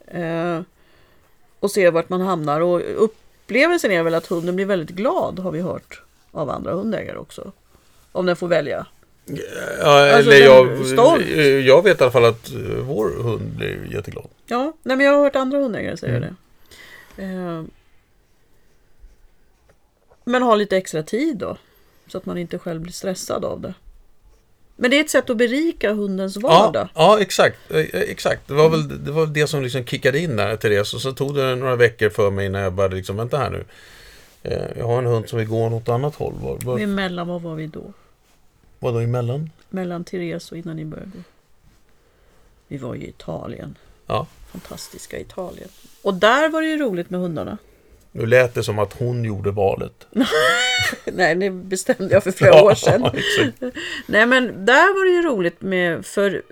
[SPEAKER 1] Eh, och se vart man hamnar. Och upplevelsen är väl att hunden blir väldigt glad har vi hört av andra hundägare också. Om den får välja.
[SPEAKER 2] ja,
[SPEAKER 1] Alltså,
[SPEAKER 2] eller jag,
[SPEAKER 1] den- stolt.
[SPEAKER 2] jag vet i alla fall att eh, vår hund blir jätteglad.
[SPEAKER 1] Ja, nej, men jag har hört andra hundägare säga det. Eh, men ha lite extra tid då. Så att man inte själv blir stressad av det. Men det är ett sätt att berika hundens vardag.
[SPEAKER 2] Ja, ja exakt. Eh, eh, exakt. Det, var
[SPEAKER 1] Mm.
[SPEAKER 2] väl, det var väl det som liksom kickade in där, Therese. Och så tog det några veckor för mig innan jag började liksom, vänta här nu. Eh, Jag har en hund som vill gå åt annat håll. Var, var,
[SPEAKER 1] Men mellan, vad var vi då?
[SPEAKER 2] vadå emellan?
[SPEAKER 1] Mellan Therese och innan ni började gå. Vi var ju i Italien.
[SPEAKER 2] Ja.
[SPEAKER 1] Fantastiska Italien. Och där var det ju roligt med hundarna.
[SPEAKER 2] Nu lät det som att hon gjorde valet.
[SPEAKER 1] Nej, det bestämde jag för flera år sedan.
[SPEAKER 2] Ja, exakt.
[SPEAKER 1] Nej men där var det ju roligt med, för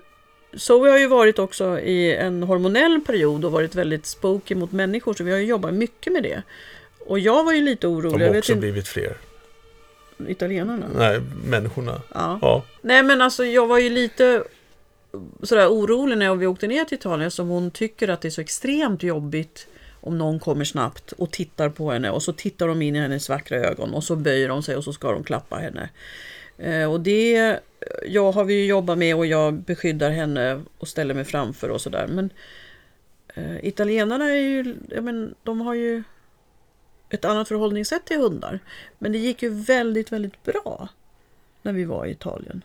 [SPEAKER 1] Zoe har ju varit också i en hormonell period och varit väldigt spooky mot människor så vi har ju jobbat mycket med det. Och jag var ju lite orolig.
[SPEAKER 2] De
[SPEAKER 1] Jag
[SPEAKER 2] har
[SPEAKER 1] vet
[SPEAKER 2] också
[SPEAKER 1] inte,
[SPEAKER 2] blivit fler.
[SPEAKER 1] italienarna.
[SPEAKER 2] Nej, människorna.
[SPEAKER 1] Ja.
[SPEAKER 2] Ja.
[SPEAKER 1] Nej men alltså jag var ju lite eh, sådär orolig när vi åkte ner till Italien som hon tycker att det är så extremt jobbigt om någon kommer snabbt och tittar på henne och så tittar de in i hennes vackra ögon och så böjer de sig och så ska de klappa henne. Eh, och det eh, jag har vi ju jobbat med och jag beskyddar henne och ställer mig framför och sådär. Men eh, italienarna är ju, ja, men, de har ju ett annat förhållningssätt till hundar. Men det gick ju väldigt, väldigt bra när vi var i Italien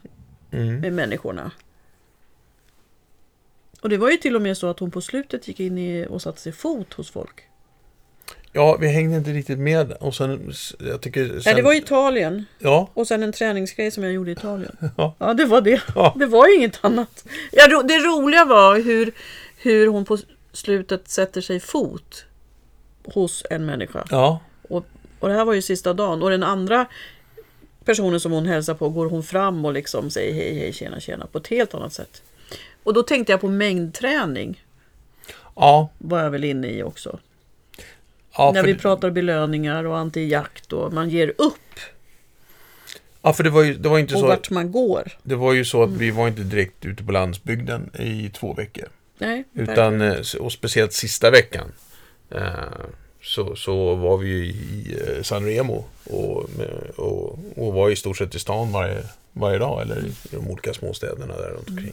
[SPEAKER 2] Mm.
[SPEAKER 1] med människorna. Och det var ju till och med så att hon på slutet gick in i och satte sig fot hos folk.
[SPEAKER 2] ja, vi hängde inte riktigt med. Och sen, jag tycker... Sen,
[SPEAKER 1] Nej, det var Italien
[SPEAKER 2] Ja,
[SPEAKER 1] och sen en träningsgrej som jag gjorde i Italien.
[SPEAKER 2] Ja.
[SPEAKER 1] Ja, det var det.
[SPEAKER 2] Ja.
[SPEAKER 1] Det var ju inget annat. Ja, ro- det roliga var hur, hur hon på slutet sätter sig fot hos en människa.
[SPEAKER 2] ja.
[SPEAKER 1] Och, och det här var ju sista dagen. Och den andra personen som hon hälsar på går hon fram och liksom säger hej, hej, tjena, tjena på ett helt annat sätt. Och då tänkte jag på mängdträning.
[SPEAKER 2] Ja,
[SPEAKER 1] var jag väl inne i också.
[SPEAKER 2] ja,
[SPEAKER 1] När
[SPEAKER 2] för,
[SPEAKER 1] vi
[SPEAKER 2] det-
[SPEAKER 1] pratar belöningar och anti-jakt och man ger upp
[SPEAKER 2] ja, för det var ju, det var inte
[SPEAKER 1] och
[SPEAKER 2] så...
[SPEAKER 1] vart man går.
[SPEAKER 2] Det var ju så att
[SPEAKER 1] Mm.
[SPEAKER 2] vi var inte direkt ute på landsbygden i två veckor.
[SPEAKER 1] Nej,
[SPEAKER 2] Utan, eh, och speciellt sista veckan. eh, Så, så var vi ju i eh, San Remo och, och, och var i stort sett i stan varje, varje dag eller i de olika småstäderna där runt omkring.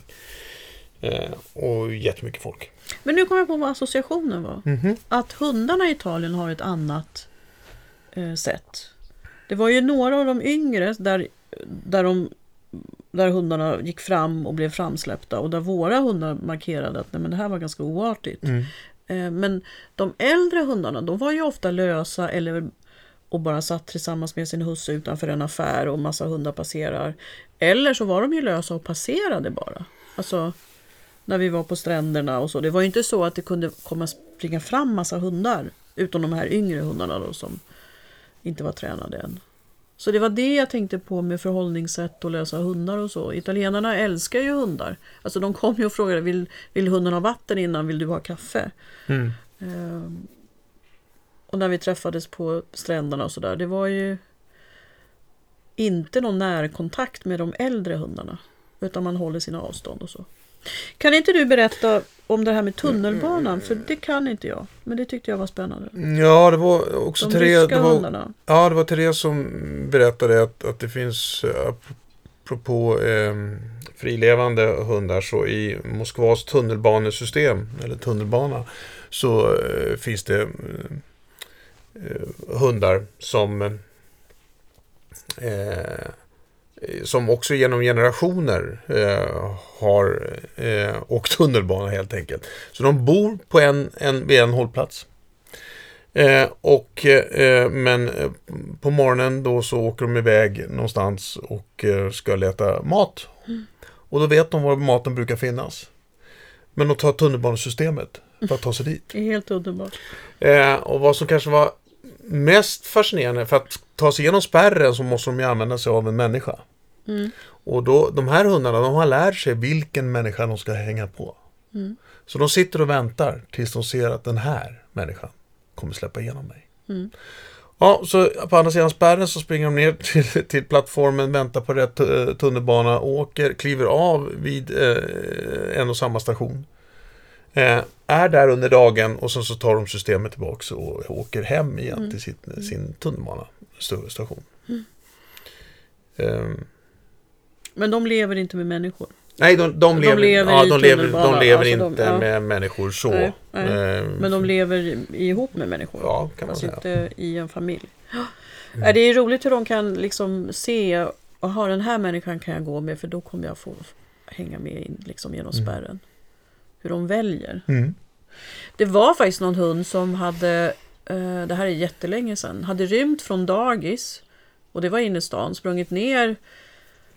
[SPEAKER 2] Eh, Och jättemycket folk.
[SPEAKER 1] Men nu kom jag på vad associationen var. Att hundarna i Italien har ett annat eh, sätt. Det var ju några av de yngre där, där, de, där hundarna gick fram och blev framsläppta och där våra hundar markerade att nej, men det här var ganska oartigt. Eh, men de äldre hundarna, de var ju ofta lösa eller och bara satt tillsammans med sin husse utanför en affär och massa hundar passerar. Eller så var de ju lösa och passerade bara. Alltså när vi var på stränderna och så. Det var ju inte så att det kunde komma springa fram massa hundar. Utom de här yngre hundarna då som inte var tränade än. Så det var det jag tänkte på med förhållningssätt och lösa hundar och så. Italienarna älskar ju hundar. Alltså de kom ju och frågade, vill, vill hunden ha vatten innan, vill du ha kaffe?
[SPEAKER 2] Mm.
[SPEAKER 1] Ehm, och när vi träffades på stränderna och sådär, det var ju inte någon närkontakt med de äldre hundarna. Utan man håller sina avstånd och så. Kan inte du berätta om det här med tunnelbanan? För det kan inte jag. Men det tyckte jag var spännande.
[SPEAKER 2] Ja, det var också
[SPEAKER 1] De
[SPEAKER 2] Therese,
[SPEAKER 1] ryska
[SPEAKER 2] det var,
[SPEAKER 1] hundarna.
[SPEAKER 2] ja, det var Therese som berättade att, att det finns, eh, apropå eh, frilevande hundar, så i Moskvas tunnelbanesystem, eller tunnelbana, så eh, finns det eh, eh, hundar som eh, eh, som också genom generationer eh, har eh, åkt tunnelbana helt enkelt. Så de bor på en, en, vid en hållplats. Eh, och, eh, men eh, på morgonen då så åker de iväg någonstans och eh, ska leta mat. Och då vet de var maten brukar finnas. Men de tar tunnelbanesystemet för att ta sig dit.
[SPEAKER 1] Det är helt underbart.
[SPEAKER 2] Eh, och vad som kanske var mest fascinerande, för att ta sig igenom spärren så måste de ju använda sig av en människa.
[SPEAKER 1] Mm.
[SPEAKER 2] Och då, de här hundarna, de har lärt sig vilken människa de ska hänga på.
[SPEAKER 1] Mm.
[SPEAKER 2] Så de sitter och väntar tills de ser att den här människan kommer släppa igenom mig.
[SPEAKER 1] Mm.
[SPEAKER 2] Ja, så på andra sidan spärren så springer de ner till, till plattformen, väntar på rätt eh, tunnelbana, åker, kliver av vid eh, en och samma station. Eh, är där under dagen och sen så tar de systemet tillbaks och åker hem igen
[SPEAKER 1] Mm.
[SPEAKER 2] till sitt, sin tunnelbana, större station. Ehm,
[SPEAKER 1] Men de lever inte med människor.
[SPEAKER 2] Nej, de, de, lever,
[SPEAKER 1] lever
[SPEAKER 2] ja,
[SPEAKER 1] i
[SPEAKER 2] de lever,
[SPEAKER 1] tunnelbana,
[SPEAKER 2] de lever
[SPEAKER 1] alltså de-
[SPEAKER 2] inte
[SPEAKER 1] ja.
[SPEAKER 2] med människor så.
[SPEAKER 1] Nej, nej.
[SPEAKER 2] Ehm,
[SPEAKER 1] Men de lever alltså i- ihop med människor.
[SPEAKER 2] ja, kan man
[SPEAKER 1] fast
[SPEAKER 2] säga.
[SPEAKER 1] inte i en familj. Mm. Det är roligt hur de kan liksom se, jaha den här människan kan jag gå med för då kommer jag få hänga med in liksom genom spärren. Hur de väljer.
[SPEAKER 2] Mm.
[SPEAKER 1] Det var faktiskt någon hund som hade, eh, det här är jättelänge sedan, hade rymt från dagis. Och det var inne i stan, sprungit ner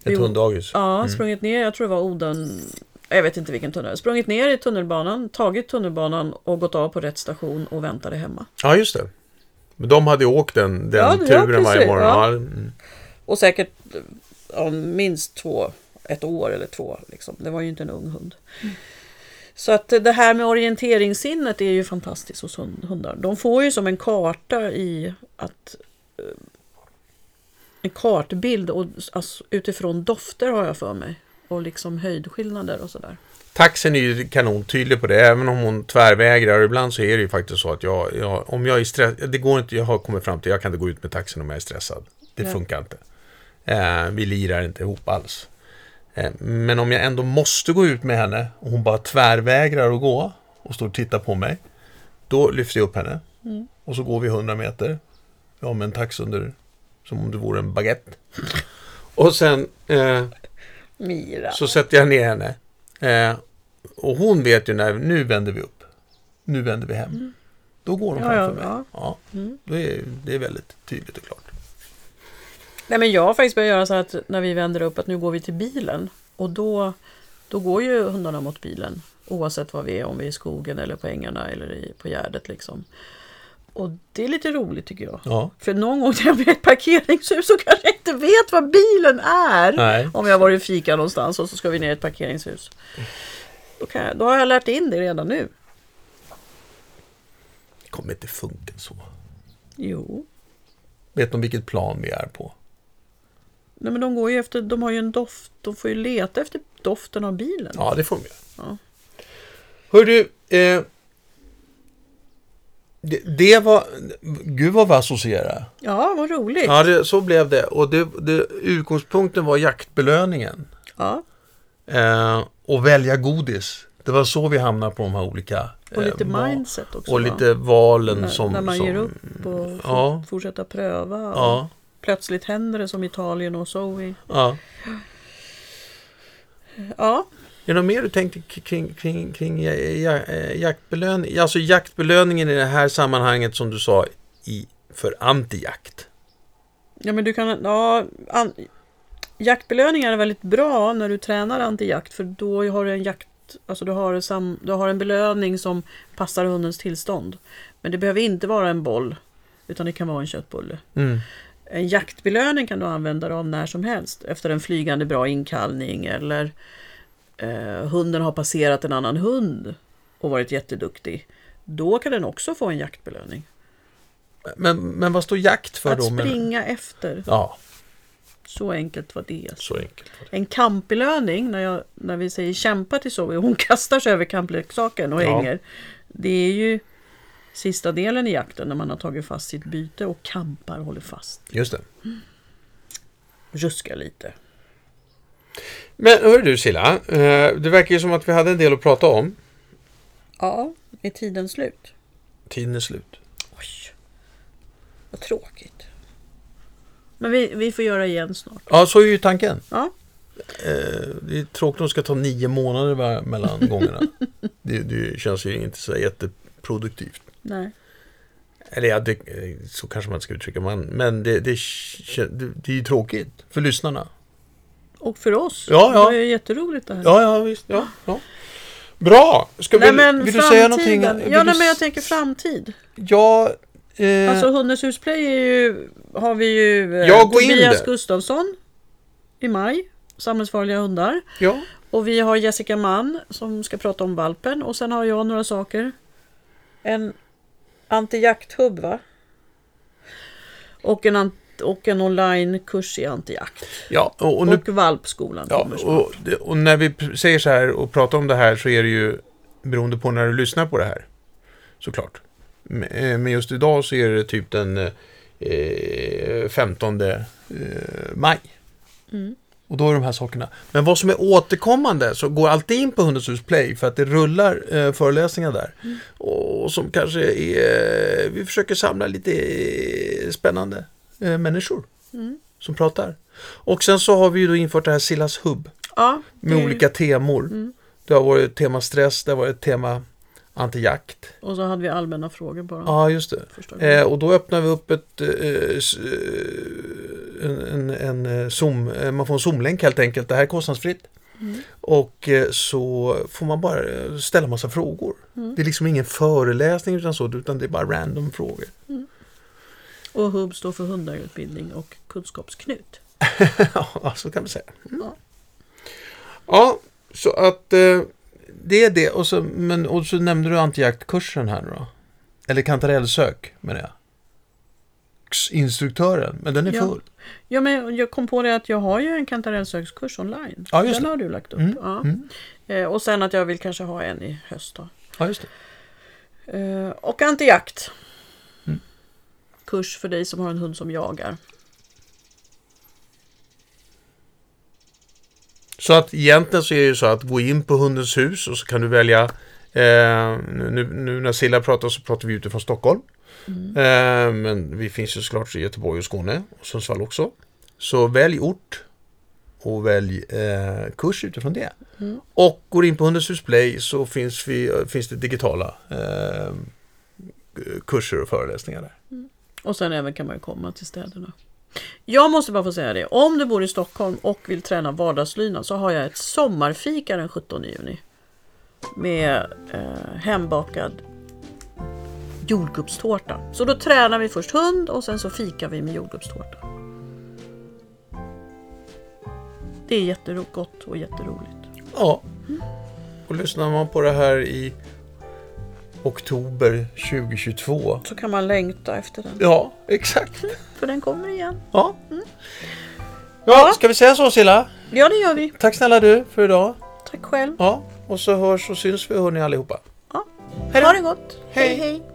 [SPEAKER 2] Ett
[SPEAKER 1] Jo.
[SPEAKER 2] hunddagis.
[SPEAKER 1] Ja, sprungit ner, jag tror det var Oden, jag vet inte vilken tunnel, sprungit ner i tunnelbanan, tagit tunnelbanan och gått av på rätt station och väntade hemma.
[SPEAKER 2] Ja, just det. Men de hade ju åkt den, den
[SPEAKER 1] Ja, ja,
[SPEAKER 2] turen varje
[SPEAKER 1] precis,
[SPEAKER 2] morgon.
[SPEAKER 1] ja.
[SPEAKER 2] Ja. mm.
[SPEAKER 1] Och säkert eh, ja, minst två, ett år eller två, liksom. det var ju inte en ung hund. Så att det här med orienteringssinnet är ju fantastiskt hos hund- hundar. De får ju som en karta i att eh, en kartbild och, alltså, utifrån dofter har jag för mig. Och liksom höjdskillnader och sådär.
[SPEAKER 2] Taxen är ju kanontydlig på det, även om hon tvärvägrar. Ibland så är det ju faktiskt så att jag, jag om jag är stressad, det går inte, jag har kommit fram till, jag kan inte gå ut med taxen om jag är stressad. Det
[SPEAKER 1] Ja.
[SPEAKER 2] funkar inte. Eh, vi lirar inte ihop alls. Eh, men om jag ändå måste gå ut med henne och hon bara tvärvägrar att gå och står och tittar på mig, då lyfter jag upp henne.
[SPEAKER 1] Mm.
[SPEAKER 2] Och så går vi 100 meter. Ja, med en tax under, som om det vore en baguette. Och sen eh,
[SPEAKER 1] Mira.
[SPEAKER 2] så sätter jag ner henne. Eh, och hon vet ju när, nu vänder vi upp. Nu vänder vi hem. Då går hon
[SPEAKER 1] Mm. Ja,
[SPEAKER 2] framför
[SPEAKER 1] ja,
[SPEAKER 2] mig.
[SPEAKER 1] ja.
[SPEAKER 2] Ja,
[SPEAKER 1] Mm.
[SPEAKER 2] då är, det är väldigt tydligt och klart.
[SPEAKER 1] Nej men jag har faktiskt börjat göra så här att när vi vänder upp att nu går vi till bilen. Och då, då går ju hundarna mot bilen. Oavsett var vi är, om vi är i skogen eller på ängarna eller i, på gärdet liksom. Och det är lite roligt tycker jag.
[SPEAKER 2] Ja.
[SPEAKER 1] För någon gång när jag är i ett parkeringshus så kanske jag inte vet vad bilen är.
[SPEAKER 2] Nej.
[SPEAKER 1] Om jag var i fika någonstans och så ska vi ner i ett parkeringshus. Då, kan jag, då har jag lärt in det redan nu.
[SPEAKER 2] Det kommer inte funka så.
[SPEAKER 1] Jo.
[SPEAKER 2] Vet de vilket plan vi är på?
[SPEAKER 1] Nej men de går ju efter, de har ju en doft, de får ju leta efter doften av bilen.
[SPEAKER 2] Ja, det får de göra.
[SPEAKER 1] Ja.
[SPEAKER 2] Hör du, eh, det, det var... Gud vad vi associerade.
[SPEAKER 1] Ja, vad roligt.
[SPEAKER 2] Ja, det, så blev det. Och det, det, utgångspunkten var jaktbelöningen.
[SPEAKER 1] Ja,
[SPEAKER 2] Eh, och välja godis. Det var så vi hamnade på de här olika...
[SPEAKER 1] och lite
[SPEAKER 2] va-
[SPEAKER 1] mindset också.
[SPEAKER 2] Eh, Och
[SPEAKER 1] va?
[SPEAKER 2] lite valen
[SPEAKER 1] när,
[SPEAKER 2] som...
[SPEAKER 1] när man
[SPEAKER 2] som,
[SPEAKER 1] ger upp och for,
[SPEAKER 2] ja.
[SPEAKER 1] fortsätter pröva. Och
[SPEAKER 2] Ja,
[SPEAKER 1] Plötsligt händer det som Italien och Zoe.
[SPEAKER 2] ja.
[SPEAKER 1] Ja,
[SPEAKER 2] Är det något mer du tänkte k- kring, kring, kring ja, ja, eh, jaktbelöning? Alltså jaktbelöningen i det här sammanhanget som du sa i, för antijakt.
[SPEAKER 1] ja men du kan... Ja, an, jaktbelöningar är väldigt bra när du tränar antijakt för då har du en jakt... Alltså du har, en sam, du har en belöning som passar hundens tillstånd. Men det behöver inte vara en boll, utan det kan vara en köttbulle.
[SPEAKER 2] Mm.
[SPEAKER 1] En jaktbelöning kan du använda dig av när som helst efter en flygande bra inkallning eller eh, hunden har passerat en annan hund och varit jätteduktig. Då kan den också få en jaktbelöning.
[SPEAKER 2] Men, men vad står jakt för
[SPEAKER 1] Att
[SPEAKER 2] då? Men-
[SPEAKER 1] springa efter,
[SPEAKER 2] Ja,
[SPEAKER 1] så enkelt var det.
[SPEAKER 2] så enkelt. var det.
[SPEAKER 1] En kampbelöning, när, jag, när vi säger kämpa till Zoe, hon kastar sig över kampleksaken och
[SPEAKER 2] Ja.
[SPEAKER 1] hänger. Det är ju sista delen i jakten när man har tagit fast sitt byte och kampar och håller fast.
[SPEAKER 2] Just det.
[SPEAKER 1] Ruskar lite.
[SPEAKER 2] Men hör du Silla, eh, det verkar ju som att vi hade en del att prata om.
[SPEAKER 1] Ja, är tiden slut?
[SPEAKER 2] Tiden är slut.
[SPEAKER 1] Oj, vad tråkigt. Men vi, vi får göra igen snart.
[SPEAKER 2] Ja, så är ju tanken.
[SPEAKER 1] Ja,
[SPEAKER 2] Eh, det är tråkigt om det ska ta nio månader va- mellan gångerna. Det, det känns ju inte så jätteproduktivt.
[SPEAKER 1] nej.
[SPEAKER 2] Eller ja, det, eh, så kanske man inte ska uttrycka man. Men det, det, kän- det, det är ju tråkigt för lyssnarna.
[SPEAKER 1] Och för oss.
[SPEAKER 2] Ja, ja.
[SPEAKER 1] Det var ju jätteroligt det här.
[SPEAKER 2] Ja, ja, visst. Ja, ja. Bra! Ska
[SPEAKER 1] nej,
[SPEAKER 2] vi,
[SPEAKER 1] men
[SPEAKER 2] vill du
[SPEAKER 1] framtiden.
[SPEAKER 2] säga någonting? Vill
[SPEAKER 1] Ja,
[SPEAKER 2] du
[SPEAKER 1] nej, men jag
[SPEAKER 2] s-
[SPEAKER 1] tänker framtid.
[SPEAKER 2] Ja, eh,
[SPEAKER 1] Alltså Hundens husplay är ju, har vi ju eh,
[SPEAKER 2] Jag går in
[SPEAKER 1] Tobias
[SPEAKER 2] där.
[SPEAKER 1] Gustafsson i maj. Samhällsfarliga hundar.
[SPEAKER 2] ja.
[SPEAKER 1] Och vi har Jessica Mann som ska prata om valpen. Och sen har jag några saker. En antijakthubb va? Och en, ant- och en onlinekurs i antijakt.
[SPEAKER 2] ja och, och
[SPEAKER 1] Och,
[SPEAKER 2] nu
[SPEAKER 1] valpskolan
[SPEAKER 2] Ja,
[SPEAKER 1] kommer snart.
[SPEAKER 2] och, det- och när vi pr- säger så här och pratar om det här så är det ju beroende på när du lyssnar på det här. Såklart. Men eh, men just idag så är det typ den eh, 15 eh, maj.
[SPEAKER 1] Mm.
[SPEAKER 2] Och då är de här sakerna. Men vad som är återkommande så går alltid in på Hundens hus Play för att det rullar eh, föreläsningar där.
[SPEAKER 1] Mm.
[SPEAKER 2] Och som kanske är, vi försöker samla lite eh, spännande eh, människor
[SPEAKER 1] Mm.
[SPEAKER 2] som pratar. Och sen så har vi ju då infört det här Sillas hubb
[SPEAKER 1] Ja,
[SPEAKER 2] med
[SPEAKER 1] det är-
[SPEAKER 2] olika temor.
[SPEAKER 1] Mm.
[SPEAKER 2] Det har varit tema stress, det har varit tema antijakt.
[SPEAKER 1] Och så hade vi allmänna frågor bara.
[SPEAKER 2] Ja, just det.
[SPEAKER 1] Första gången.
[SPEAKER 2] Eh, och då öppnar vi upp ett, eh, s- eh, en, en, en eh, zoom, eh, man får en zoomlänk helt enkelt. Det här är kostnadsfritt.
[SPEAKER 1] Mm.
[SPEAKER 2] Och eh, så får man bara eh, ställa massa frågor.
[SPEAKER 1] Mm.
[SPEAKER 2] Det är liksom ingen föreläsning utan så, utan det är bara random frågor.
[SPEAKER 1] Och hubb står för hundarutbildning och kunskapsknut.
[SPEAKER 2] ja, så kan man säga. Mm.
[SPEAKER 1] Ja.
[SPEAKER 2] Ja, så att eh, det är det. Och så, men, och så nämnde du antijaktkursen här nu då. Eller kantarellsök menar jag. köksinstruktören, men den är
[SPEAKER 1] Ja.
[SPEAKER 2] full.
[SPEAKER 1] Ja, men jag kom på det att jag har ju en kantarellsökskurs online.
[SPEAKER 2] Ja, just
[SPEAKER 1] den
[SPEAKER 2] det.
[SPEAKER 1] har du lagt upp.
[SPEAKER 2] Mm,
[SPEAKER 1] Ja.
[SPEAKER 2] mm.
[SPEAKER 1] Eh, och sen att jag vill kanske ha en i höst då.
[SPEAKER 2] Ja, just det.
[SPEAKER 1] Eh, och antijakt.
[SPEAKER 2] Mm.
[SPEAKER 1] Kurs för dig som har en hund som jagar.
[SPEAKER 2] Så att egentligen så är det ju så att gå in på Hundens hus och så kan du välja eh, nu, nu när Silla pratar så pratar vi utifrån Stockholm. Eh, men vi finns ju såklart i Göteborg och Skåne och Sundsvall också. Så välj ort och välj eh, kurs utifrån det. Och går in på Hundens hus Play så finns, vi, finns det digitala eh, kurser och föreläsningar där.
[SPEAKER 1] Och sen även kan man ju komma till städerna. Jag måste bara få säga det. Om du bor i Stockholm och vill träna vardagslyna så har jag ett sommarfika den 17 juni. Med eh, hembakad jordgubbstårta. Så då tränar vi först hund och sen så fikar vi med jordgubbstårta. Det är jättegott och jätteroligt.
[SPEAKER 2] Ja, och lyssnar man på det här i oktober 2022
[SPEAKER 1] Så kan man längta efter den.
[SPEAKER 2] Ja, exakt.
[SPEAKER 1] För den kommer igen.
[SPEAKER 2] Ja. ja, ska vi säga så Silla?
[SPEAKER 1] Ja, det gör vi.
[SPEAKER 2] Tack snälla du för idag.
[SPEAKER 1] Tack själv.
[SPEAKER 2] Ja, och så hörs och syns vi hörni allihopa.
[SPEAKER 1] Ja.
[SPEAKER 2] Hej då.
[SPEAKER 1] Ha det gott.
[SPEAKER 2] Hej.
[SPEAKER 1] hej.